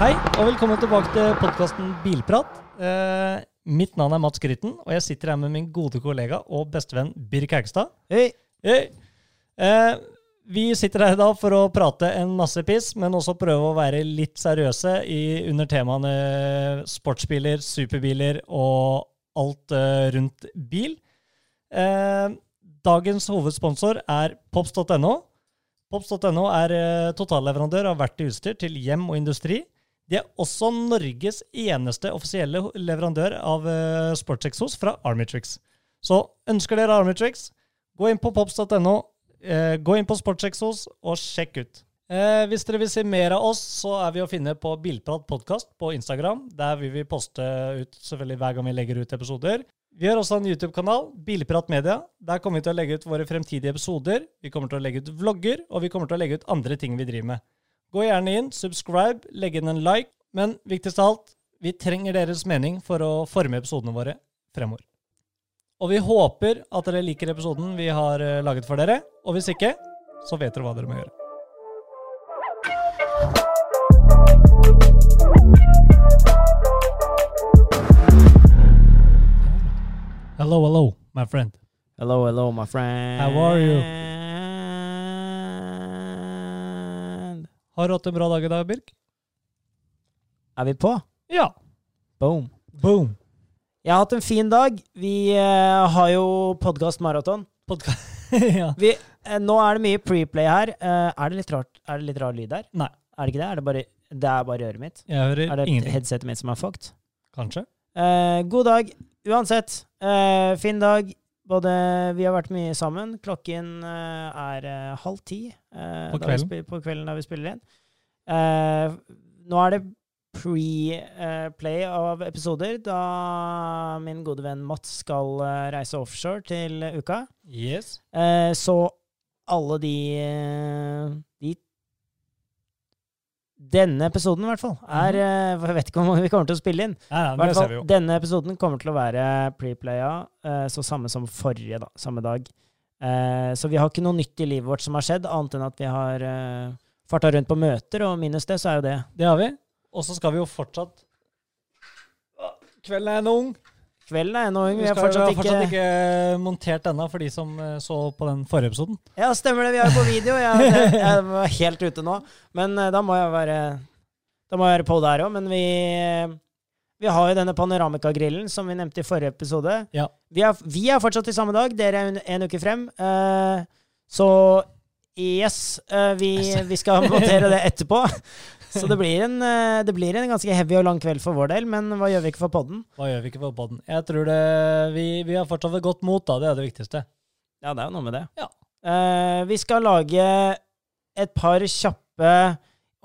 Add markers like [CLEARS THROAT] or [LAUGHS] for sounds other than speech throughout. Hei, og velkommen tilbake til podkasten Bilprat. Eh, mitt navn er Mats Grytten, og jeg sitter her med min gode kollega og bestevenn Birk Haugstad. Hei. Hei. Eh, vi sitter her i dag for å prate en masse piss, men også prøve å være litt seriøse i, under temaene sportsbiler, superbiler og alt eh, rundt bil. Eh, dagens hovedsponsor er pops.no. Pops.no er eh, totalleverandør av verktøy og utstyr til hjem og industri. De er også Norges eneste offisielle ho- leverandør av eh, sportseksos fra Armitrix. Så ønsker dere Armitrix, gå inn på pops.no, eh, gå inn på sportseksos og sjekk ut. Eh, hvis dere vil se mer av oss, så er vi å finne på Bilprat podkast på Instagram. Der vil vi poste ut selvfølgelig hver gang vi legger ut episoder. Vi har også en YouTube-kanal, Bilprat Media. Der kommer vi til å legge ut våre fremtidige episoder. Vi kommer til å legge ut vlogger, og vi kommer til å legge ut andre ting vi driver med. Gå gjerne inn, subscribe, legg inn en like. Men viktigst av alt, vi trenger deres mening for å forme episodene våre fremover. Og vi håper at dere liker episoden vi har eh, laget for dere. Og hvis ikke, så vet dere hva dere må gjøre. Hello, hello, my friend. Hello, hello, my friend. How are you? Har du hatt en bra dag i dag, Birk? Er vi på? Ja. Boom. Boom. Jeg har hatt en fin dag. Vi eh, har jo podkast maraton. Podcast. [LAUGHS] ja. Vi, eh, nå er det mye preplay her. Eh, er, det litt rart, er det litt rar lyd her? Nei. Er det ikke det? Er det, bare, det er bare øret mitt? Jeg hører Er det ingenting. headsetet mitt som er fucked? Kanskje? Eh, god dag. Uansett, eh, fin dag. Både, vi har vært mye sammen. Klokken eh, er eh, halv ti eh, På da vi kvelden. spi- på kvelden da vi spiller inn. Eh, nå er det pre-play av episoder, da min gode venn Mats skal eh, reise offshore til uka. Yes. Eh, så alle de, eh, de Denne episoden, i hvert fall, er Mhm. eh, Jeg vet ikke hvor mange vi kommer til å spille inn. Nei, nei, I men det hvert ser fall, vi jo. denne episoden kommer til å være preplaya, eh, så samme som forrige, da, samme dag. Eh, så vi har ikke noe nytt i livet vårt som har skjedd, annet enn at vi har eh, farta rundt på møter, og minus det, så er jo det Det har vi. Og så skal vi jo fortsatt Å, Kvelden er ennå ung. Kvelden er ennå ung, Vi, vi har skal, vi fortsatt har fortsatt ikke ikke montert ennå, for de som eh, så på den forrige episoden. Ja, stemmer det, vi er jo på video. Jeg, jeg, jeg var helt ute nå. Men eh, da må jeg være Da må jeg være på der òg. Men vi eh, vi har jo denne panoramikagrillen som vi nevnte i forrige episode. Ja. Vi, er, vi er fortsatt i samme dag, dere er en, en uke frem. Eh, så yes, eh, vi, vi skal montere det etterpå. Så det blir, en, eh, det blir en ganske heavy og lang kveld for vår del, men hva gjør vi ikke for podden? Hva gjør vi ikke på podden? Jeg tror det, vi, vi har fortsatt et godt mot, da. Det er det viktigste. Ja, det er jo noe med det. Ja. Eh, vi skal lage et par kjappe,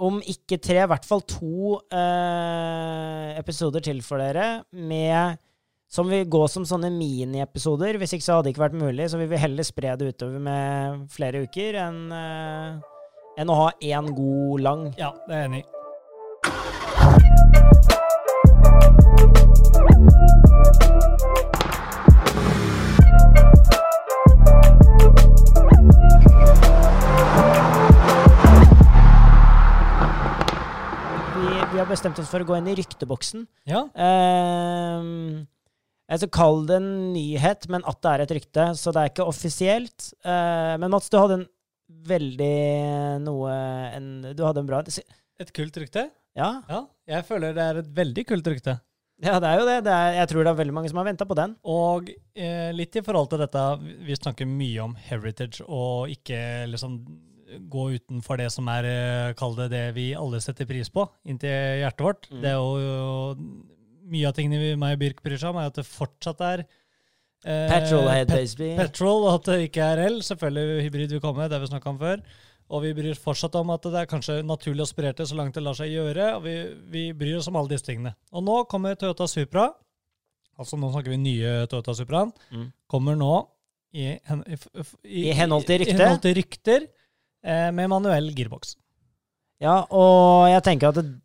om ikke tre, i hvert fall to eh, episoder til for dere, med, som vil gå som sånne miniepisoder. Hvis ikke så hadde det ikke vært mulig, så vi vil heller spre det utover med flere uker enn eh, enn å ha én god lang. Ja, det er jeg enig i. Vi, vi har bestemt oss for å gå inn i rykteboksen. Ja. Ehm, altså Kall det en nyhet, men at det er et rykte. Så det er ikke offisielt. Eh, men Mats, du hadde en veldig noe en, Du hadde en bra Et kult rykte? Ja, Ja. Jeg føler det er et veldig kult rykte. ja det er jo det. det er, jeg tror det er veldig mange som har venta på den. Og eh, litt i forhold til dette, vi- vi snakker mye om heritage og ikke liksom gå utenfor det som er, eh, kall det det vi alle setter pris på, inntil hjertet vårt. Mm. Det er jo mye av tingene vi, meg og Birk bryr seg om, er at det fortsatt er eh, Petrolhead, pet- baby. petrol, og at det ikke er el. Selvfølgelig hybrid vil komme, det har vi snakka om før. Og vi bryr oss fortsatt om at det er kanskje naturlig aspirerte så langt det lar seg gjøre. og Vi, vi bryr oss om alle disse tingene. Og nå kommer Toyota Supra, altså nå snakker vi nye Toyota Supraen, Mm. kommer nå i, hen, i, f- f- I henhold til i rykte. henhold til rykter eh, med manuell girboks. Ja, og jeg tenker at det,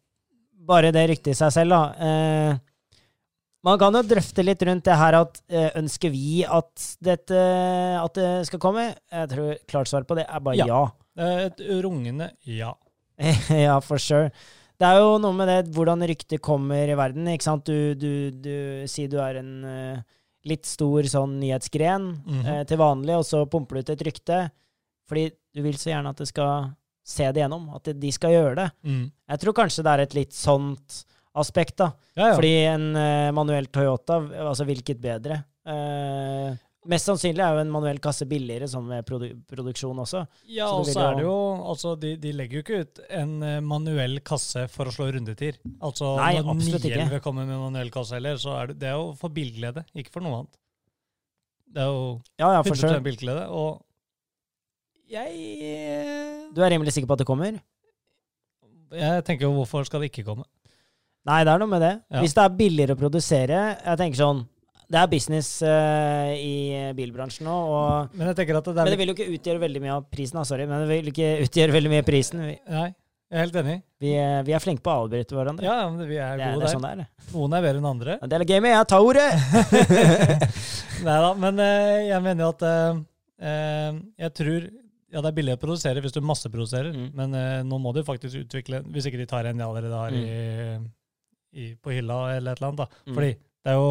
bare det ryktet i seg selv, da eh, Man kan jo drøfte litt rundt det her at eh, ønsker vi at dette at det skal komme? Jeg tror klart svar på det er bare Ja. ja. Det er Eh, Et rungende ja. [LAUGHS] ja, for sure. Det er jo noe med det hvordan ryktet kommer i verden. ikke sant? Du, du, du sier du er en eh, litt stor sånn nyhetsgren Mhm. eh, til vanlig, og så pumper du ut et rykte fordi du vil så gjerne at det skal se det gjennom, at de skal gjøre det. Mm. Jeg tror kanskje det er et litt sånt aspekt, da. ja, ja. Fordi en eh, manuell Toyota, altså hvilket bedre? Eh, mest sannsynlig er jo en manuell kasse billigere, sånn med produ produksjon også. ja, så og det så vil er det jo- jo Altså, de, de legger jo ikke ut en eh, manuell kasse for å slå rundetider. Altså, Nei, når absolutt ikke. 911 kommer med manuell kasse heller, så er det, det er jo for bilglede, ikke for noe annet. Det er jo Ja, ja, for 100 sure. bilglede, og jeg eh, Du er rimelig sikker på at det kommer? Jeg tenker jo, hvorfor skal det ikke komme? Nei, det er noe med det. Ja. Hvis det er billigere å produsere Jeg tenker sånn Det er business eh, i bilbransjen nå, og Men jeg tenker at det Men er det vil jo ikke utgjøre veldig mye av prisen, da, sorry. Men det vil ikke [LAUGHS] utgjøre veldig mye av prisen. Vi, Nei, jeg er helt enig. vi, eh, vi er flinke på å avbryte hverandre. Ja, ja, men vi er det, er, gode det er der. sånn det er. det. Noen er bedre enn andre. Det er gamet. Jeg tar ordet! Nei da, men eh, jeg mener jo at eh, eh, jeg tror ja, det er billig å produsere hvis du masseproduserer, Mm. men eh, nå må du faktisk utvikle Hvis ikke de tar en de allerede har i, i, på hylla eller et eller annet, da. Mm. [LAUGHS] Fordi det er jo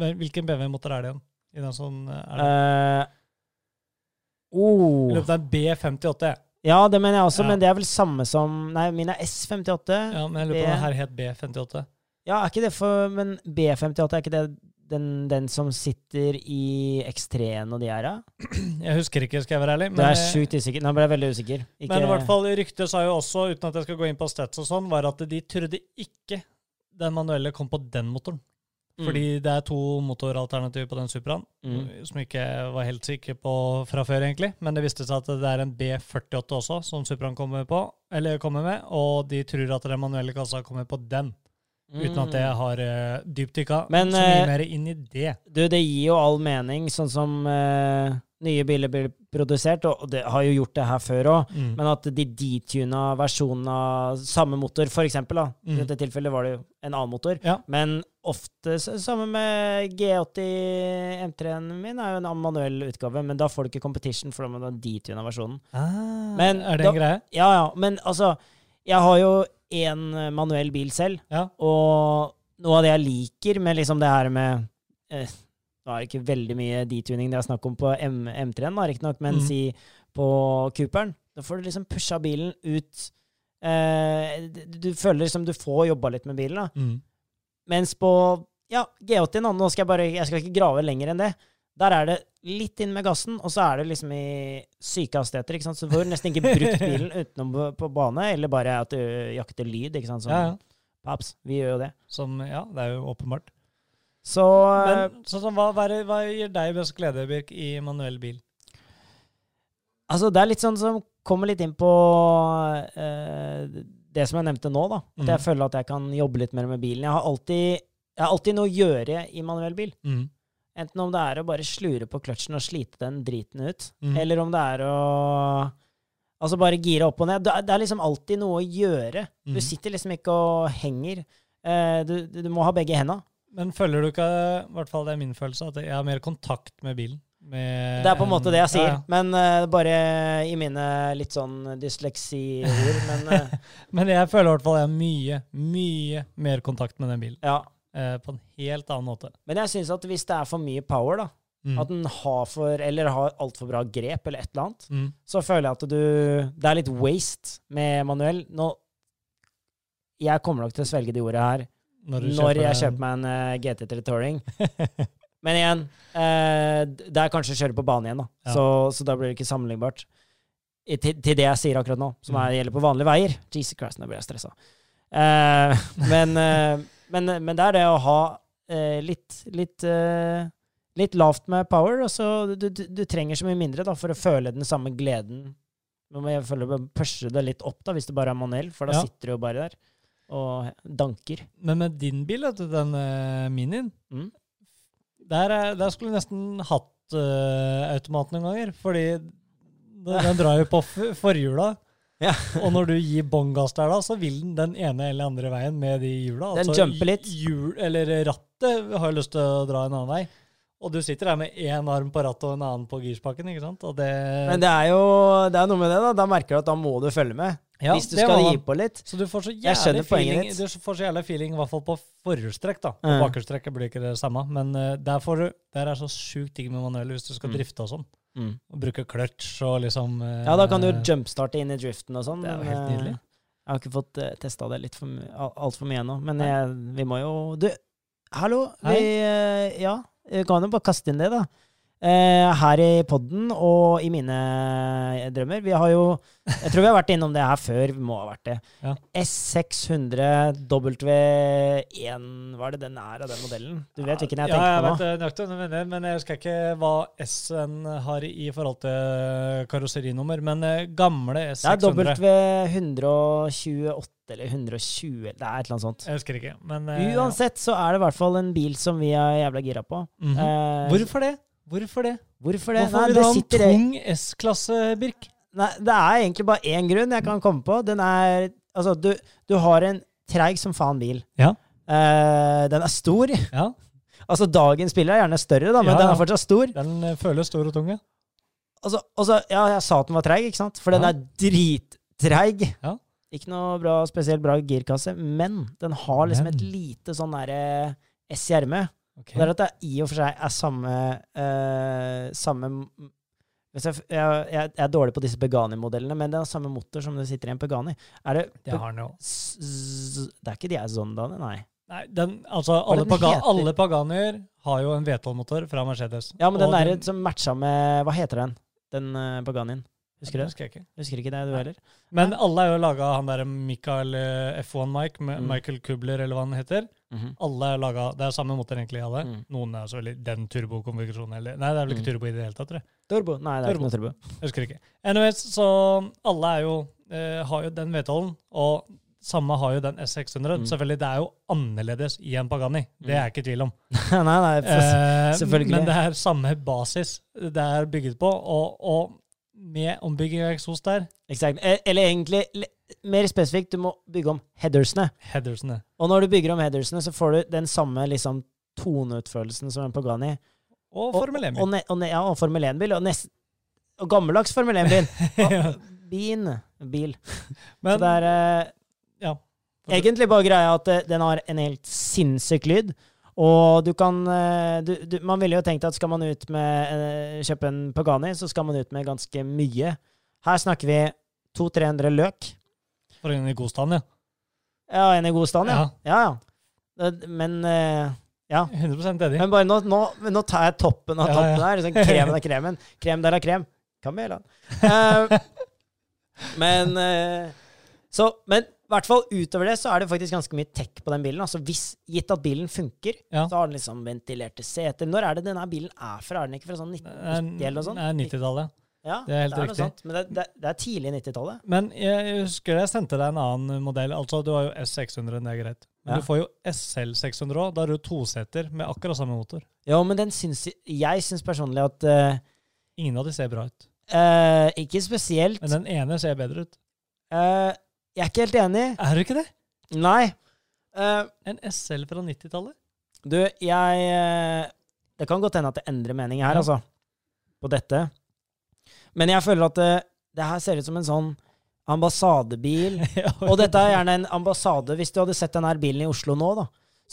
Hvil- Hvilken BMW-motor er det igjen? I den som er det? Eh, I oh. løpet av en B58. jeg. Ja, det mener jeg også, Ja. men det er vel samme som Nei, min er S58. Ja, Ja, men jeg lurer på B- om den her het B58. er ikke det for Men B58, er ikke det den, den som sitter i X3-en og de her, da? [CLEARS THROAT] Jeg husker ikke, skal jeg være ærlig. Du er eh, sjukt usikker. Nå ble jeg veldig usikker. Ikke, Men i hvert fall ryktet sa jo også, uten at jeg skal gå inn på stats og sånn, var at de trodde ikke den manuelle kom på den motoren. Mm. Fordi det er to motoralternativer på den Supraen, Mm. som ikke var helt sikker på fra før, egentlig. Men det viste seg at det er en B48 også, som Supraen kommer, på, eller kommer med, og de tror at den manuelle kassa kommer på den, Mm. uten at jeg har eh, dypdykka Men, så mye eh, mer inn i det. Du, det gir jo all mening, sånn som eh, nye biler blir produsert, og det har jo gjort det her før òg. Mm. Men at de detuna versjonen av samme motor, for eksempel, da. I Mm. dette tilfellet var det jo en annen motor. Ja. Men ofte s- Samme med G80 M3-en min, er jo en manuell utgave, men da får du ikke competition, for da må du ha detuna versjonen. Ah, Men er det da- en greie? Ja, ja, men altså Jeg har jo en eh, manuell bil selv, Ja. og noe av det jeg liker med liksom det her med eh, Nå er det ikke veldig mye detuning det er snakk om på M M3-en, da, riktignok, men Mm. si på Cooperen. Da får du liksom pusha bilen ut eh, du, du føler liksom du får jobba litt med bilen, da. Mm. Mens på ja, G80 nå, nå skal jeg bare Jeg skal ikke grave lenger enn det. Der er det litt inn med gassen, og så er det liksom i syke hastigheter. ikke sant? Så du får nesten ikke [LAUGHS] brukt bilen utenom på, på bane, eller bare at du jakter lyd, ikke sant. Som Ja, ja. paps. Vi gjør jo det. Som, ja, det er jo åpenbart. Så eh, Men sånn, som, hva, hva, er det- hva gir deg best glede, Birk, i manuell bil? altså, det er litt sånn som kommer litt inn på eh, det som jeg nevnte nå, da. At Mhm. jeg føler at jeg kan jobbe litt mer med bilen. Jeg har alltid, jeg har alltid noe å gjøre i manuell bil. Enten om det er å bare slure på kløtsjen og slite den driten ut, Mhm. eller om det er å Altså bare gire opp og ned. Det er, det er liksom alltid noe å gjøre. Du Mhm. sitter liksom ikke og henger. Eh, du, du du må ha begge henda. Men føler du ikke, i hvert fall det er min følelse, at jeg har mer kontakt med bilen? Med Det er på en måte det jeg sier, Eh, Ja, men eh, bare i mine litt sånn dysleksiord. Men [LAUGHS] eh, ja. Men jeg føler i hvert fall jeg har mye, mye mer kontakt med den bilen. ja. Eh, på en helt annen måte. Men jeg syns at hvis det er for mye power, da, Mm. at den har for Eller har altfor bra grep, eller et eller annet, Mm. så føler jeg at du Det er litt waste med manuell. Nå, jeg kommer nok til å svelge de ordene her Når, når, du jeg en- kjøper meg en eh, GT3 Touring. [LAUGHS] Men igjen, eh, det er kanskje å kjøre på bane igjen, da. Ja. Så, så da blir det ikke sammenlignbart. I, til, til det jeg sier akkurat nå, som Mm. er, gjelder på vanlige veier. Jesus Christ, nå blir jeg stressa. Eh, [LAUGHS] men, eh, men, men det er det å ha eh, litt, litt eh, Litt lavt med power, og så du, du, du trenger så mye mindre da, for å føle den samme gleden. Nå må jeg føle pushe det litt opp, da, hvis det bare er manuell, for da Ja. sitter du jo bare der og danker. Men med din bil, vet du, den eh, minien, Mm. der, er- der skulle du nesten hatt eh, automat noen ganger. Fordi den, den drar jo på f- forhjula. [LAUGHS] Ja. og når du gir bånn gass der, da, så vil den den ene eller andre veien med de hjula. Altså, Den jumper litt. Hjul, eller rattet har jo lyst til å dra en annen vei. Og du sitter der med én arm på rattet og en annen på girspaken, ikke sant? Og det, Men det er jo det er noe med det, da. Da merker du at da må du følge med. Ja, Hvis du det må skal man. gi på litt. Så du får så Jeg jævlig skjønner poenget feeling, ditt. du får så jævlig feeling i hvert fall på forhjulstrekk. da. På Ja. bakhjulstrekket blir ikke det samme, men eh, der, får du, der er så sjukt digg med manuell hvis du skal Mm. drifte og sånn. Og bruke clutch og liksom eh, Ja, da kan du jumpstarte inn i driften og sånn. Det er jo men, helt nydelig. eh, Jeg har ikke fått uh, testa det litt for, my- al- alt for mye ennå, men jeg, vi må jo Du, hallo! Vi, Hei. eh, ja, vi kan jo bare kaste inn det, da. Eh, her i podden og i mine eh, drømmer. Vi har jo Jeg tror vi har vært innom det her før. Vi må ha vært det. Ja. S600 W1 Hva er det den er av den modellen? Du vet hvilken ja, jeg tenker jeg på nå? vet det nøyaktig, hva du mener, men jeg husker ikke hva S-en har i forhold til eh, karosserinummer. Men eh, gamle Det er S600 W128 eller 120, det er et eller annet sånt. Jeg husker ikke, men eh, Uansett så er det i hvert fall en bil som vi er jævla gira på. mhm. Eh, Hvorfor det? Hvorfor det? hvorfor det? Hvorfor Nei, vil du det ha en sitter i- tung S-klasse, Birk? Nei, det er egentlig bare én grunn jeg kan komme på. Den er Altså, du, du har en treig som faen bil. Ja. Eh, den er stor. Ja, Altså, dagens biler er gjerne større, da, men Ja, den ja. er fortsatt stor. Den eh, føles stor og tung, ja. Altså, altså, ja, jeg sa at den var treig, ikke sant? For den Ja. er drittreig. Ja. Ikke noe bra, spesielt bra girkasse, men den har liksom Men. et lite sånn derre S i ermet. Ok. Og Det er at det i og for seg er samme eh, Samme Hvis jeg, jeg, jeg er dårlig på disse Pegani-modellene, men det er samme motor som det sitter i en Pegani. Er det Det har den jo. S- z- Det er ikke de er Zondaene, nei. Nei, den, altså, er alle, det den paga heter? alle Paganier har jo en V12-motor fra Mercedes. Ja, men den Og der som matcha med Hva heter den? Den eh, Peganien. Husker den du? husker jeg ikke. Husker ikke det, du heller? Men alle er jo laga av han derre Michael eh, F1 Mike, med Mm. Michael Kubler eller hva han heter. Alle er laga Det er samme motor egentlig, alle. Mm. Noen er selvfølgelig den turbokonfigurasjonen eller Nei, det er vel ikke Mm. turbo i det hele tatt, tror jeg. Turbo? Nei, det er ikke noe turbo. [LAUGHS] Jeg husker ikke. Anyways, så alle er jo eh, har jo den V12-en, og samme har jo den S600. Mm. Selvfølgelig, det er jo annerledes i en Pagani. Det er jeg ikke i tvil om. nei, nei, for, Eh, [LAUGHS] Selvfølgelig. Men det er samme basis det er bygget på, og, og med ombygging av eksos der, exakt. Eh, Eller egentlig le- mer spesifikt, du må bygge om headersene. headersene. Og når du bygger om headersene, så får du den samme liksom toneutførelsen som en Pagani. Og Formel 1. Og, ne, og, ne, ja, og Formel 1-bil. Og, nest- og gammeldags Formel [LAUGHS] 1-bil. Ja. Bin. Bil. Så Men det er eh, ja. egentlig bare greia at eh, den har en helt sinnssyk lyd. Og du kan eh, du, du, Man ville jo tenkt at skal man ut med eh, kjøpe en Pagani, så skal man ut med ganske mye. Her snakker vi 200-300 løk. For en i god stand, ja. Ja, en i god stand, ja. Ja. Ja, ja. Det- Men eh, 100 enig. Men bare nå, nå, nå tar jeg toppen av Ja, ja. toppen her. Sånn kremen av kremen. Krem der av krem. Kamela. Eh, men eh, Så, men i hvert fall utover det så er det faktisk ganske mye tech på den bilen. Altså hvis, Gitt at bilen funker, Ja. så har den liksom ventilerte seter. Når er det denne bilen er fra? Er den ikke fra sånn 1990 eller noe sånt? Det er 90-tallet. Ja, det er helt noe riktig. sånt, men det, det, det er tidlig 90-tallet. Men jeg husker jeg sendte deg en annen modell. Altså, du har jo S600, det er greit. Men Ja. du får jo SL600 òg. Da er du toseter med akkurat samme motor. Jo, men den syns Jeg syns personlig at eh, Ingen av de ser bra ut. eh, Ikke spesielt. Men den ene ser bedre ut. Eh, jeg er ikke helt enig. Er du ikke det? Nei. Eh, En SL fra [LAUGHS] 90-tallet? Du, jeg eh, Det kan godt hende at det endrer mening her, Ja. altså. På dette. Men jeg føler at det, det her ser ut som en sånn ambassadebil. [LAUGHS] Og dette er gjerne en ambassade. Hvis du hadde sett den her bilen i Oslo nå, da,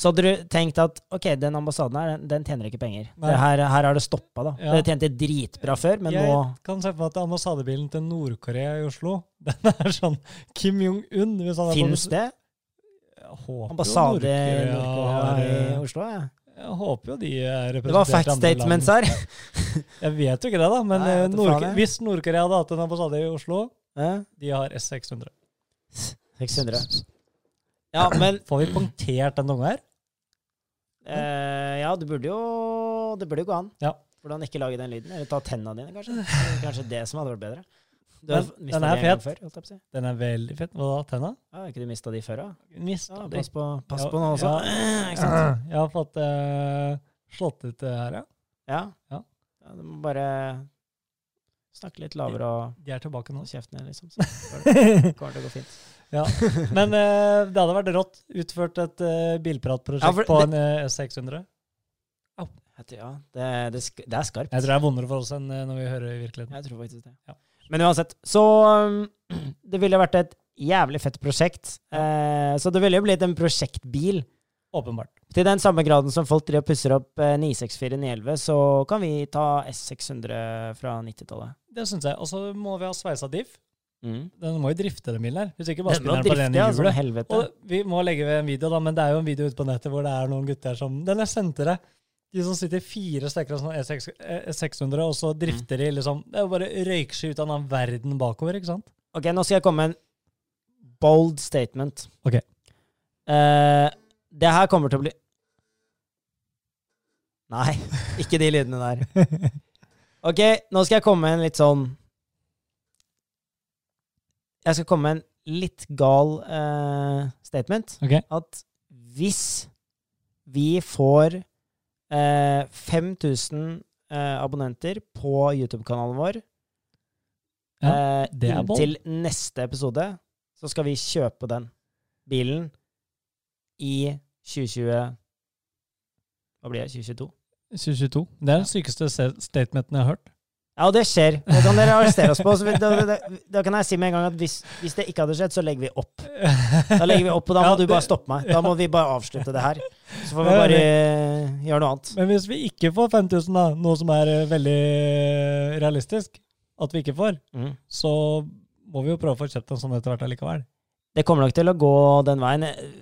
så hadde du tenkt at ok, den ambassaden her, den, den tjener ikke penger. Nei. Det her, her er det stoppa, da. Ja. Det tjente dritbra før, men jeg nå kan se for meg at ambassadebilen til Nord-Korea i Oslo, [LAUGHS] den er sånn Kim Jong-un hvis han er på Fins bes- det Jeg håper jo ambassade i Nord-Korea har, Nord-Korea i eh, Oslo? Ja. Jeg håper jo de er representert Det var fact i andre land. statements [LAUGHS] her. Jeg vet jo ikke det, da. Men Nei, jeg eh, vet da Nord faen, jeg. hvis Nord-Korea hadde hatt en ambassade i Oslo, Ja. de har S600. 600. Ja, men Får vi punktert den tunga her? Eh, ja, det burde jo Det burde jo gå an. Ja. Hvordan ikke lage den lyden? Eller ta tenna dine, kanskje. [LAUGHS] Kanskje det som hadde vært bedre. Du har Men mistet den er de en gang fet. Før, holdt jeg på å si. Den er veldig fett. Hva da? Tenna? Ja, Har ikke du mista de før, da? Mista Ja, de. pass på, pass Ja, på nå også. Eh, ja. Ikke sant? Jeg har fått eh, slått ut det her, ja. Ja. Ja. ja. Du må bare Snakke litt lavere og De er tilbake nå. og kjeften ned, liksom. Så går [LAUGHS] det, går det gå fint. [LAUGHS] Men eh, det hadde vært rått utført et eh, bilpratprosjekt Ja, for på det- en eh, S600. Jeg tror, Ja, det, det, sk- det er skarpt. Jeg tror det er vondere for oss enn eh, når vi hører i virkeligheten. Jeg tror faktisk det. Ja. Men uansett, så um, [CLEARS THROAT] Det ville vært et jævlig fett prosjekt. Eh, så det ville jo blitt en prosjektbil. Åpenbart. Til den samme graden som folk driver og pusser opp eh, 964 911, så kan vi ta S600 fra 90-tallet. Det syns jeg. Og så må vi ha sveisa diff. Mm. Den må jo drifte den bilen her. Hvis ikke bare Den må spinner den på drifte, den i ja, som hjulet. helvete. Og vi må legge ved en video, da, men det er jo en video ute på nettet hvor det er noen gutter som Den jeg sendte deg. De som sitter fire stykker av sånn E6 E600, og så drifter de liksom Det er jo bare røyksky ut av en annen verden bakover, ikke sant? Ok, nå skal jeg komme med en bold statement. Ok. Eh, det her kommer til å bli Nei, [LAUGHS] ikke de lydene der. [LAUGHS] Ok, nå skal jeg komme med en litt sånn Jeg skal komme med en litt gal eh, statement. Ok. At hvis vi får eh, 5000 eh, abonnenter på YouTube-kanalen vår eh, det er bold. inntil neste episode så skal vi kjøpe den bilen i 2020 Hva blir det? 2022? 2022. Det er den sykeste se- statementen jeg har hørt. Ja, og det skjer. Det kan dere arrestere oss på. Så vi- da, da, da kan jeg si med en gang at hvis, hvis det ikke hadde skjedd, så legger vi opp. Da legger vi opp, og da må Ja, du bare det- stoppe meg. Da må vi bare avslutte det her. Så får vi bare eh, gjøre noe annet. Men hvis vi ikke får 5000, da, noe som er eh, veldig realistisk at vi ikke får, Mm. så må vi jo prøve å få kjøpt en sånn etter hvert allikevel. Det kommer nok til å gå den veien.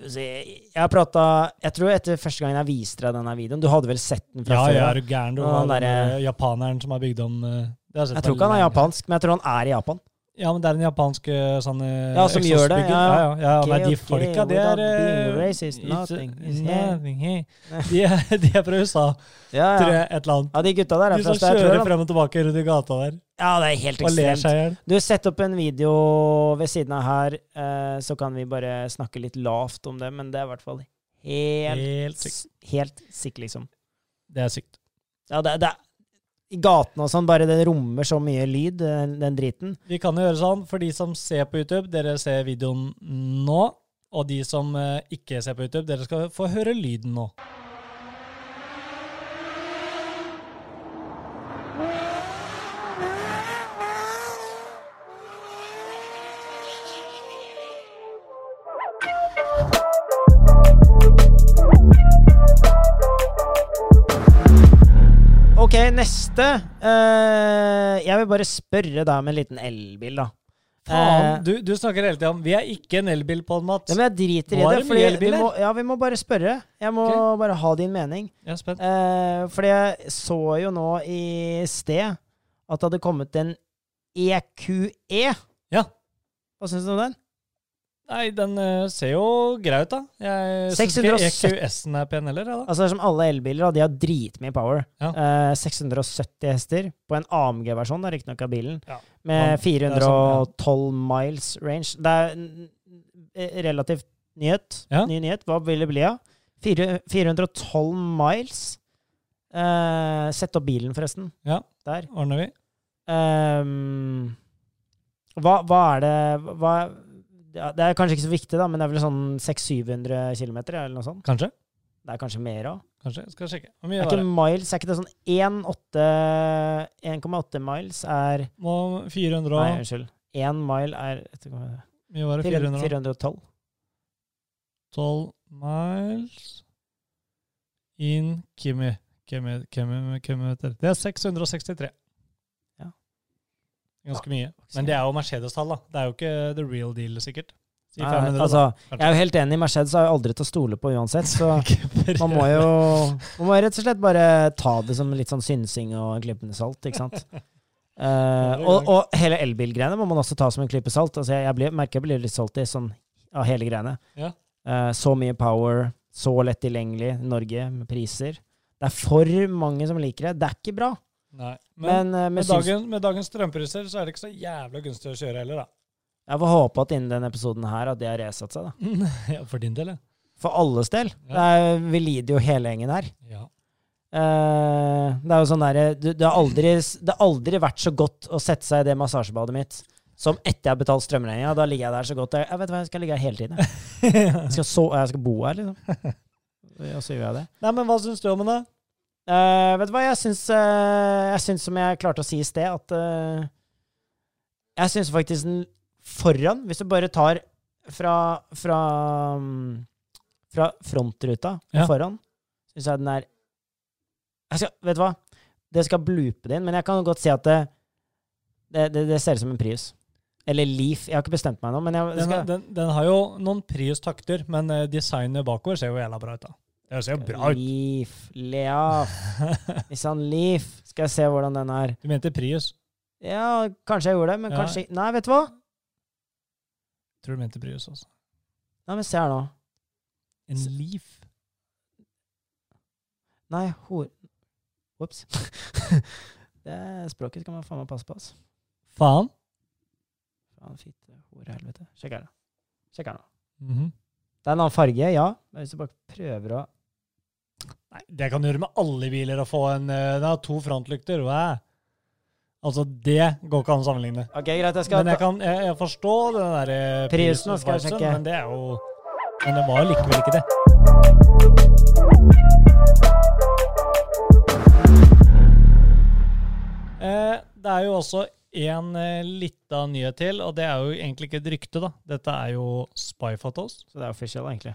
Så Jeg, jeg har prata Jeg tror etter første gangen jeg viste deg denne videoen Du hadde vel sett den Ja, fra før? jeg da? er du gæren. Du Og han har den derre- der japaneren som har bygd om eh, det har sett Jeg meg tror ikke han er lenge. japansk, men jeg tror han er i Japan. Ja, men det er en japansk eh, sånn eh, Ja, som gjør det, eksosbygger. ja. ja, ja, ja, Okay, Nei, de okay, folka, de without er eh, being racist, it's- eh, nothing is here. nothing here. De er, [LAUGHS] de er fra USA, Ja, tror ja. jeg, et eller annet. ja de gutta De der er fra som Øst- jeg tror kjører det. frem og tilbake rundt i gata der Ja, det er helt og ler ekstremt. seg i hjel. Du, sett opp en video ved siden av her, eh, så kan vi bare snakke litt lavt om det, men det er i hvert fall helt, Helt sykt. s- helt sikkert, liksom. Det er sykt. Ja, det, det er i gatene og sånn, bare det rommer så mye lyd, den, den driten. Vi kan jo gjøre sånn, for de som ser på YouTube, dere ser videoen nå. Og de som eh, ikke ser på YouTube, dere skal få høre lyden nå. Ok, neste. Eh, jeg vil bare spørre deg om en liten elbil, da. Faen, Eh, du, du snakker hele tida om Vi er ikke en elbil på en ja, Mats. men jeg driter i Var det. det mye Fordi vi, elbiler? må, ja, vi må bare spørre. Jeg må bare ha din mening. Jeg er spent. Eh, fordi jeg så jo nå i sted at det hadde kommet en EQE. Ja. Hva syns du om den? Nei, den eh, ser jo grei ut, da. Jeg syns ikke 670. EQS-en er pen heller. jeg, da. Altså det er som alle elbiler, da, de har dritmye power. Ja. Eh, 670 hester på en AMG-versjon, det er riktignok av bilen, Ja. Ja, med det er sant, 412 miles range. Det er en- en relativt nyhet. Ja. Ny nyhet. Hva vil det bli av? Fire- 412 miles. Eh, sett opp bilen, forresten. Ja. Der. Ordner vi. Ehm, hva, hva er det hva, ja, Det er kanskje ikke så viktig, da, men det er vel sånn 600-700 km, eller noe sånt? Kanskje. Det er kanskje mer òg? Kanskje. Skal sjekke. Hvor mye Er var ikke det? miles, er ikke det sånn 1,8 1,8 miles er Må 400 Nei, og unnskyld. 1 mile er jeg vet ikke hva det er. Mye var det? 412 412. miles in Kimi. Kimi, Kimi, Kimi meter. Det er 663. Ja. Ganske mye. Men det er jo Mercedes-tall, da. Det er jo ikke the real deal, sikkert. Si Nei, 500, altså, da, jeg er jo helt enig, Mercedes er jo aldri til å stole på uansett, så [LAUGHS] kanskje. man må jo man må jo rett og slett bare ta det som litt sånn synsing og en klype med salt, ikke [LAUGHS] sant? Eh, og, og hele elbilgreiene må man også ta som en klype salt. Altså, jeg, jeg blir, merker jeg blir litt salty sånn, av hele greiene. Ja. Eh, så mye power, så lett tilgjengelig i Norge med priser. Det er for mange som liker det. Det er ikke bra. Nei. Men, Men, eh, med med, syns- dagen, med dagens strømpriser så er det ikke så jævla gunstig å kjøre [LAUGHS] heller, da. jeg får håpe at innen denne episoden her at det har resatt seg. da. ja, for din del, ja. For alles del. Ja. [LAUGHS] Det er, vi lider jo hele gjengen her. ja. Eh, det er jo sånn derre du- Det har aldri, det har aldri vært så godt å sette seg i det massasjebadet mitt som etter jeg har betalt strømregninga. Da ligger jeg der så godt. Jeg, jeg vet hva, jeg skal ligge her hele tiden. Jeg, jeg, skal, so jeg skal bo her, liksom. Og så gjør jeg det. Nei, men hva syns du om det? Eh, vet du hva, jeg syns, eh, jeg syns som jeg klarte å si i sted, at eh, Jeg syns faktisk den foran, hvis du bare tar fra Fra, mm, fra frontruta og Ja. foran, syns jeg den er jeg skal, Vet du hva, det skal bloope det inn, men jeg kan godt si at det, det, det, det ser ut som en Prius. Eller Leaf. Jeg har ikke bestemt meg nå, men jeg Den, skal, den, den har jo noen Prius-takter, men eh, designet bakover ser jo jævla bra ut, da. Det ser jo bra ut. Leaf, Leaf, [LAUGHS] Nissan Leaf. Skal jeg se hvordan den er. Du mente Prius. Ja, kanskje jeg gjorde det, men Ja. kanskje Nei, vet du hva? Tror du mente Prius, altså. Nei, men se her nå. En Leaf. Nei, hor... Ops. [LAUGHS] det språket skal man faen meg passe på, ass. Faen. Faen, fitte, hore, helvete. Sjekk her, da. Sjekk her nå. Mhm. Det er en annen farge, ja. Men hvis du bare prøver å Nei, det kan du gjøre med alle biler, å få en eh, Den har to frontlykter. Hva? Altså, det går ikke an å sammenligne. Ok, greit, jeg skal Men jeg, kan, jeg, jeg forstår den der eh, Priusen, skal jeg Priusen, sjekke. Men det er jo Men det var jo likevel ikke det. Eh, det er jo også en eh, lita nyhet til, og det er jo egentlig ikke et rykte, da. Dette er jo Spy Photos. Så det er official, egentlig.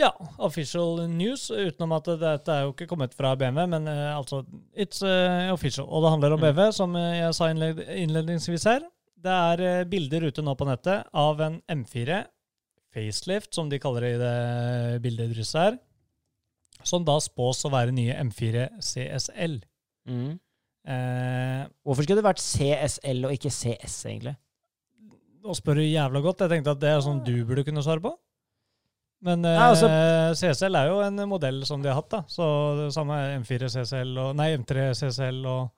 Ja, official news, utenom at dette er jo ikke kommet fra BMW, men eh, altså, it's eh, official. Og det handler om Mm. BMW, som eh, jeg sa innled innledningsvis her. Det er eh, bilder ute nå på nettet av en M4 facelift, som de kaller det i det bildet drysset her, som da spås å være nye M4 CSL. Mm. Eh, Hvorfor skulle det vært CSL og ikke CS, egentlig? Nå spør du jævla godt. Jeg tenkte at det er sånn du burde kunne svare på. Men eh, Nei, altså- CCL er jo en modell som de har hatt, da. Så det samme er M4 CCL og Nei, M3 CCL og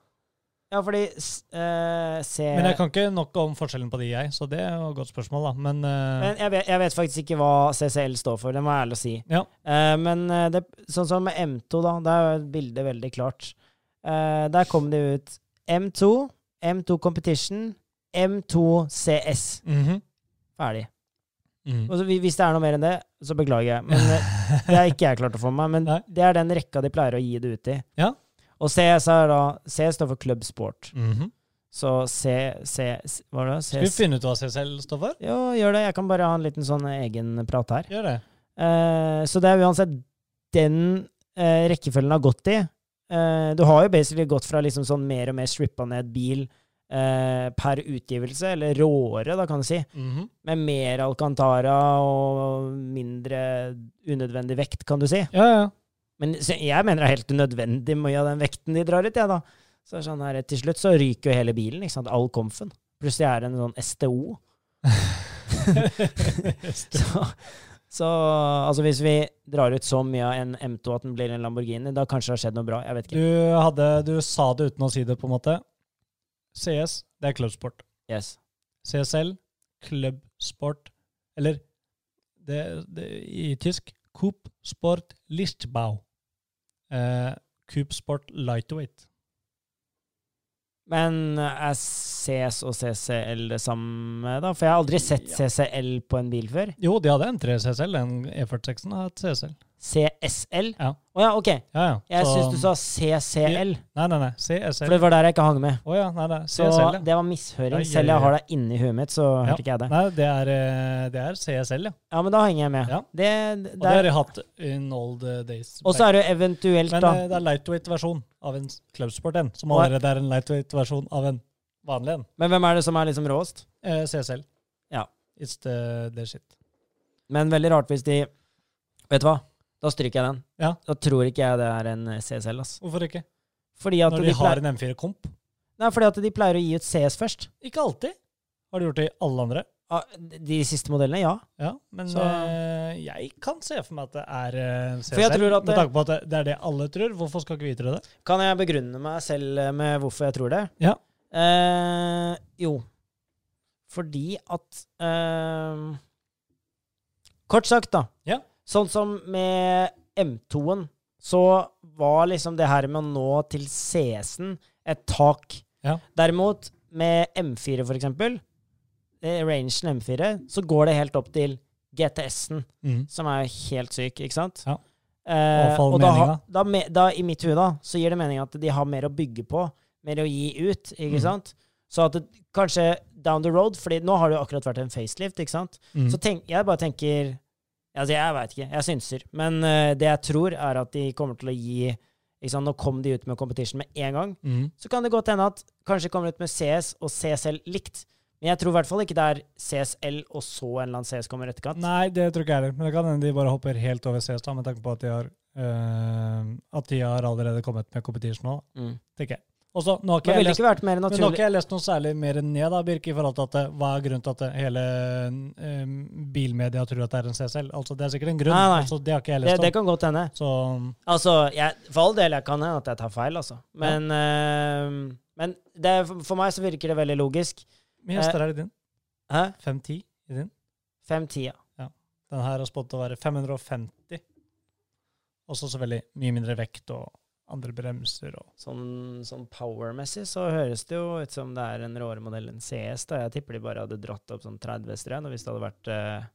Ja, fordi s- eh, C... Men jeg kan ikke nok om forskjellen på de, jeg, så det er jo et godt spørsmål, da. Men, eh, Men jeg vet, jeg vet faktisk ikke hva CCL står for, det må jeg ærlig si. Ja. Eh, men eh, det, sånn som med M2, da, da er jo bildet veldig klart. Eh, der kom det ut M2, M2 Competition, M2 CS. mhm. Ferdig. Mhm. Og så, vi- hvis det er noe mer enn det, så beklager jeg. Men eh, det er ikke jeg klart å få med meg. [LAUGHS] Men Nei. det er den rekka de pleier å gi det ut i. Ja. Og CS er da C står for Club Sport. Mhm. Så C, C, C Hva var det? Skal vi CS? finne ut hva CCL står for? Jo, gjør det. Jeg kan bare ha en liten sånn egen prat her. Gjør det. Eh, så det er uansett den eh, rekkefølgen har gått i. Eh, du har jo basically gått fra liksom sånn mer og mer strippa ned bil eh, per utgivelse, eller råere, da kan du si, Mhm. med mer Alcantara og mindre unødvendig vekt, kan du si. Ja, [LAUGHS] ja. Men så jeg mener det er helt unødvendig mye av den vekten de drar ut, jeg, da. Så er det sånn her, til slutt så ryker jo hele bilen, ikke sant, all komfen. Plutselig er det en sånn STO. [LAUGHS] Så, så altså hvis vi drar ut så mye av en M2 at den blir en Lamborghini, da kanskje det har skjedd noe bra. Jeg vet ikke. du, hadde, du sa det uten å si det, på en måte. CS, det er klubbsport. Yes. CSL, klubbsport, eller det, det, i tysk, Coopsport Lichtbau. Eh, Coopsport Lightweight. Men er CS og CCL det samme, da? For jeg har aldri sett Ja. CCL på en bil før. Jo, de hadde en 3 CSL, en E46 har hatt CSL. CSL? Ja. Å ja, ok. Ja, ja. Jeg Så- syns du sa CCL, Nei, nei, nei, for CSL. det var der jeg ikke hang med. Å ja, nei, nei, Så CSL, ja. det var mishøring. Ai, Selv jeg ai, har det inni huet mitt, så hørte ikke jeg det. Nei, det er, eh, det er CSL, ja. Ja, men da henger jeg med. Ja. Det, Og det har der, de hatt in old eh, days. og så er det jo eventuelt, Men da eh, det er lightweight-versjon av en klubbsport, en, som Og- allerede er en lightweight-versjon av en vanlig en. Men hvem er det som er liksom råest? Eh, CSL. Ja. It's the, the shit. Men veldig rart hvis de Vet du hva? Da stryker jeg den. Ja. Da tror ikke jeg det er en eh, CSL. ass. Hvorfor ikke? Fordi at, Når de de har pleier, en M4-komp. nei, fordi at de pleier å gi ut CS først. Ikke alltid. Har du gjort det i alle andre? Ah, De siste modellene, ja. Ja, men Så- eh, jeg kan se for meg at det er eh, CSL. For jeg tror at Med det- tanke på at det, det er det alle tror. Hvorfor skal ikke vi tro det? Kan jeg begrunne meg selv eh, med hvorfor jeg tror det? Ja. Eh, jo. Fordi at eh, Kort sagt, da. Ja. Sånn som med M2-en, så var liksom det her med å nå til CS-en et tak. Ja. Derimot, med M4 for eksempel, eh, rangen M4, så går det helt opp til GTS-en, Mm. som er helt syk, ikke sant? Ja. Eh, Avfall og da, ha- meninga. da, me- da, i mitt hode, da, så gir det mening at de har mer å bygge på, mer å gi ut, ikke Mhm. sant? Så at det, kanskje down the road, fordi nå har det jo akkurat vært en facelift, ikke sant? Mm. Så tenk, jeg bare tenker Altså, jeg veit ikke. Jeg synser. Men eh, det jeg tror, er at de kommer til å gi ikke sant, Nå kom de ut med competition med en gang. Mm. Så kan det godt hende at kanskje kommer ut med CS og CSL likt. Men jeg tror i hvert fall ikke det er CSL og så en eller annen CS kommer i etterkant. Nei, det tror ikke jeg heller. Men det kan hende de bare hopper helt over CS da, med tanke på at de har, eh, at de har allerede kommet med competition nå, Mm. tenker jeg. Og så, nå har ikke jeg Men ville lest det ikke vært mer Men nå har naturlig ikke jeg lest noe særlig mer ned, da, Birke, i forhold til at det, hva er grunnen til at det, hele eh, bilmedia tror at det er en CSL? Altså, Det er sikkert en grunn. Nei, nei. Altså, det har ikke jeg det, lest det om. kan godt hende. Så mm, Altså, jeg, for all del jeg kan hende at jeg tar feil, altså. Men, eh, men det, er- for meg så virker det veldig logisk. min Eh. hester er i din. Hæ? 510 i din. 5-10, ja. Den her er spådd til å være 550. Også selvfølgelig mye mindre vekt og andre bremser og Sånn, sånn power-messig så høres det jo ut som det er en råere modell enn CS. da. Jeg tipper de bare hadde dratt opp sånn 30 strøm hvis det hadde vært eh,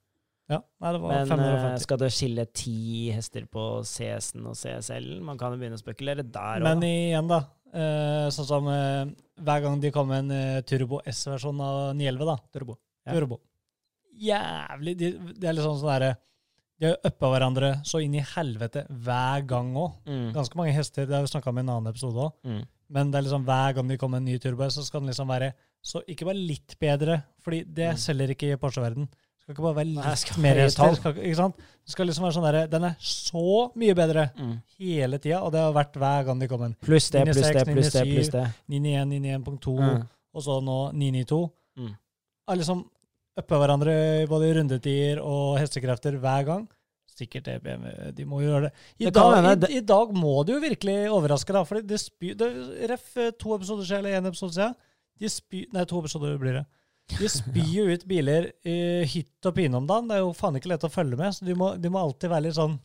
Ja, nei, det var Men eh, 550. skal det skille 10 hester på CS-en og CSL-en? Man kan jo begynne å spekulere der Men òg. igjen, da. eh, sånn som eh, hver gang de kom med en eh, Turbo S-versjon av 911, da. Turbo. Ja. Turbo. Jævlig de, Det er liksom sånn derre De har uppa hverandre så inn i helvete hver gang òg. Mm. Ganske mange hester. Det har vi snakka om i en annen episode òg. Mm. Men det er liksom hver gang de kommer med en ny turbo, så skal den liksom være så ikke bare litt bedre, fordi det Mm. selger ikke i Porsche-verden. Skal ikke bare være litt Nei, skal være mer i hester. tall. Skal, ikke- ikke sant? Det skal liksom være sånn derre Den er så mye bedre Mm. hele tida, og det har vært hver gang de kommer en Pluss det, Linje pluss det, seks, linje pluss det. pluss det. 991, 991.2, Mm. og så nå 992. Mm. Er liksom uppa hverandre i både rundetider og hestekrefter hver gang. Sikkert det BMW, de må jo gjøre det. I, Det dag, kan hende, i, I dag må det jo virkelig overraske, da. For de spyr det, Ref eh, to episoder siden, eller én episode siden. De spyr, nei, to episoder blir det. De spyr jo ut biler i hytt og pine om dagen. Det er jo faen ikke lett å følge med, så de må, de må alltid være litt sånn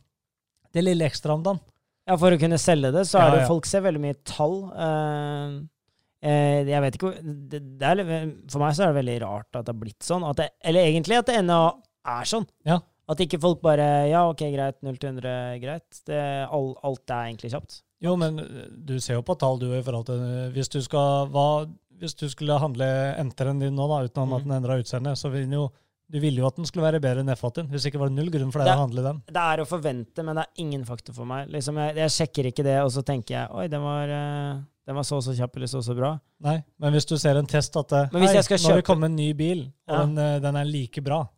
Det lille ekstra om dagen. Ja, for å kunne selge det, så Ja, er det ja. folk ser veldig mye tall. Eh, eh, jeg vet ikke hvor det, det er, litt- For meg så er det veldig rart at det har blitt sånn. At det, eller egentlig at det ennå er sånn. Ja. At ikke folk bare Ja, OK, greit. 0 til 100, greit. Det, all, alt er egentlig kjapt. Jo, men eh, du ser jo på tall, du, i forhold til eh, Hvis du, skal, hva, hvis du skulle handle enteren din nå, da, utenom at Mhm. den endra utseende, så vil den jo du ville jo at den skulle være bedre enn F-80. Hvis ikke var det null grunn for deg Det- å handle den. Det er å forvente, men det er ingen faktor for meg. Liksom, jeg, jeg sjekker ikke det, og så tenker jeg Oi, den var, eh, den var så og så kjapp, eller så og så bra. Nei, Men hvis du ser en test at det, Men hvis hei, jeg skal nå har det kjøpe- kommet en ny bil, og Ja. den, eh, den er like bra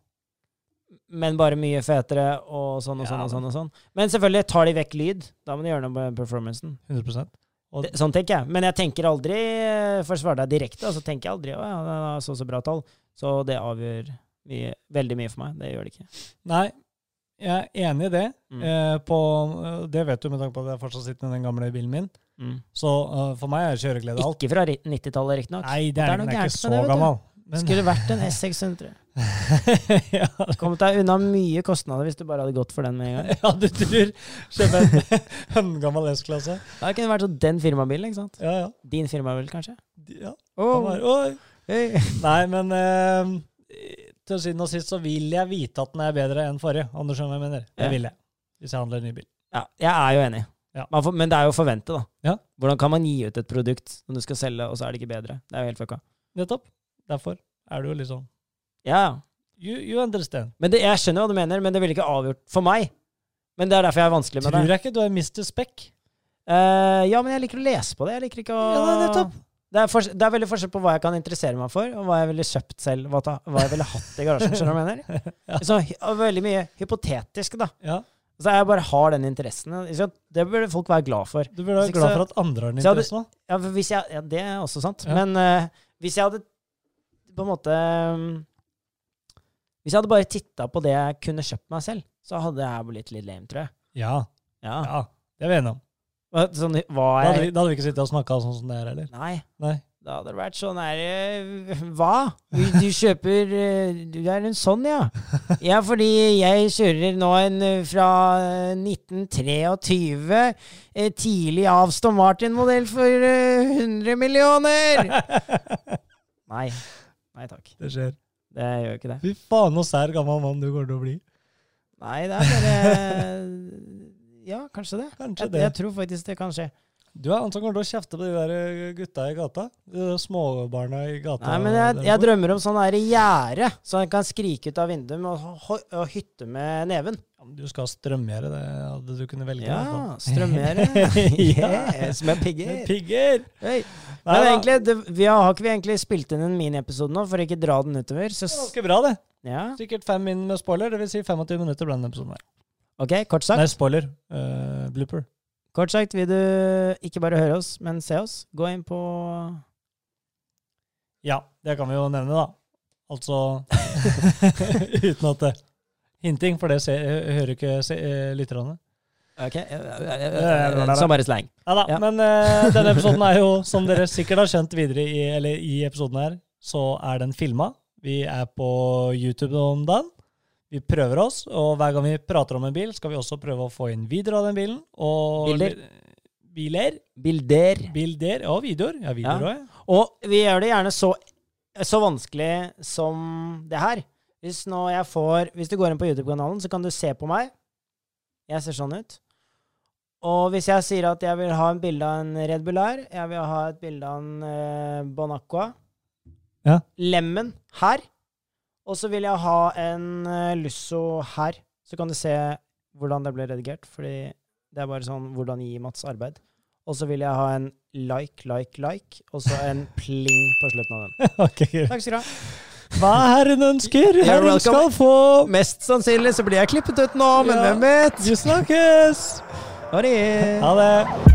Men bare mye fetere, og sånn og sånn Ja, og sånn. og sånn. Men selvfølgelig tar de vekk lyd. Da må de gjøre noe med performancen. 100 Og- Det- Sånn tenker jeg. Men jeg tenker aldri, eh, for å svare deg direkte, altså tenker jeg aldri å ja, den har så og så bra tall. Så det avgjør mye, veldig mye for meg. Det gjør det ikke. Nei, jeg er enig i det. Mm. Eh, på, eh, det vet du med tanke på at jeg fortsatt sitter i den gamle bilen min. Mm. Så eh, for meg er kjøreglede alt. Ikke fra ri- 90-tallet, riktignok. Nei, det Det er er, noe den er gærent ikke så med det, vet du. gammel. Det Men, Skulle vært en S600. [LAUGHS] ja, Kommet deg unna mye kostnader hvis du bare hadde gått for den med en gang. [LAUGHS] Ja, du tror. Kjøpe en [LAUGHS] høngammal S-klasse. Det kunne vært sånn den firmabilen, ikke sant? Ja, ja. Din firmabil, kanskje? De- ja. han Oh. var- Oi. Hey. Nei, men eh, til siden og sist så vil jeg vite at den er bedre enn forrige. Om du skjønner hva jeg mener. Det Ja. vil jeg. Hvis jeg handler en ny bil. Ja, jeg er jo enig. Ja. Man får, men det er jo å forvente, da. Ja. Hvordan kan man gi ut et produkt som du skal selge, og så er det ikke bedre? Det er jo helt fucka. Nettopp. Derfor er du jo liksom Ja, ja. You, you understand. Men det, jeg skjønner hva du mener, men det ville ikke avgjort for meg. Men det er derfor jeg er vanskelig med Tror det. jeg ikke du er Mr. Speck. Eh, ja, men jeg liker å lese på det. Jeg liker ikke å Ja, nei, nettopp. det, er fors- det er veldig forskjell på hva jeg kan interessere meg for, og hva jeg ville kjøpt selv, hva, ta, hva jeg ville hatt i garasjen. Skjønner du hva jeg [LAUGHS] mener? Så, hy- og veldig mye hypotetisk, da. Ja, Så jeg bare har den interessen. Så Det burde folk være glad for. Du burde være Hvis ikke glad så- for at andre har den Så hadde- interessen òg. Ja, for hvis jeg, ja, det er også sant. Ja. Men eh, hvis jeg hadde på en måte um, Hvis jeg hadde bare titta på det jeg kunne kjøpt meg selv, så hadde jeg blitt litt lame, tror jeg. Ja, Ja. ja. Det er vi enige om. Hva- Sånn, hva Da hadde vi, jeg da hadde vi ikke sittet og snakka sånn som det er heller. Nei. Nei. Da Da hadde det vært sånn her eh, Hva? Du, du kjøper eh, Du er en sånn, ja. Ja, fordi jeg kjører nå en eh, fra eh, 1923. eh, Tidlig Avston Martin-modell for eh, 100 millioner! Nei. Nei takk. Det skjer. Det gjør jo ikke det. Fy faen, så sær gammel mann du kommer til å bli. Nei, det er bare [LAUGHS] Ja, kanskje det. Kanskje Jeg, det. jeg tror faktisk det kan skje. Du er han som kommer til å kjefte på de der eh, gutta i gata. De der småbarna i gata. Nei, men jeg, der jeg hvor- drømmer om sånn der gjerde, så han kan skrike ut av vinduet med å, ho- og hytte med neven. Ja, men Du skal ha strømgjerde, det hadde du kunne velge. Ja, [LAUGHS] strømgjerde. Ja. yes, med pigger. Pigger! Hey. Nei, Men da. egentlig, det, vi har, har ikke vi egentlig spilt inn en miniepisode nå, for ikke dra den utover? Så, Det var s- Ganske bra, det. ja. Sikkert fem inn med spoiler, dvs. Si 25 minutter blant denne episoden. her. Ok, kort sagt. Nei, spoiler. Eh, blooper. Kort sagt vil du ikke bare høre oss, men se oss. Gå inn på Ja, det kan vi jo nevne, da. Altså [LAUGHS] Uten at det Hinting, for det se, hører ikke se, eh, lytterne. Ok, eh, som bare slang. Ja da, Ja. men eh, denne episoden er jo, som dere sikkert har skjønt videre i, eller i episoden her, så er den filma. Vi er på YouTube om dagen. Vi prøver oss, og hver gang vi prater om en bil, skal vi også prøve å få inn videoer av den bilen. Og Bilder. Biler. Bilder. Bilder og videoer. Ja, videoer Ja. òg, ja. Og vi gjør det gjerne så, så vanskelig som det her. Hvis, nå jeg får, hvis du går inn på YouTube-kanalen, så kan du se på meg. Jeg ser sånn ut. Og hvis jeg sier at jeg vil ha en bilde av en Red Bull her, jeg vil ha et bilde av en eh, Bon Aqua, Ja. Lemmen her, og så vil jeg ha en eh, Lusso her, så kan du se hvordan det ble redigert, fordi det er bare sånn hvordan gi Mats arbeid. Og så vil jeg ha en like, like, like, og så en pling på slutten av den. [LAUGHS] Ok, greit. Takk skal du ha. Hva herren ønsker, You're herren skal welcome. få. Mest sannsynlig så blir jeg klippet ut nå, men Ja. hvem vet? Vi snakkes! Ha det. Ha det.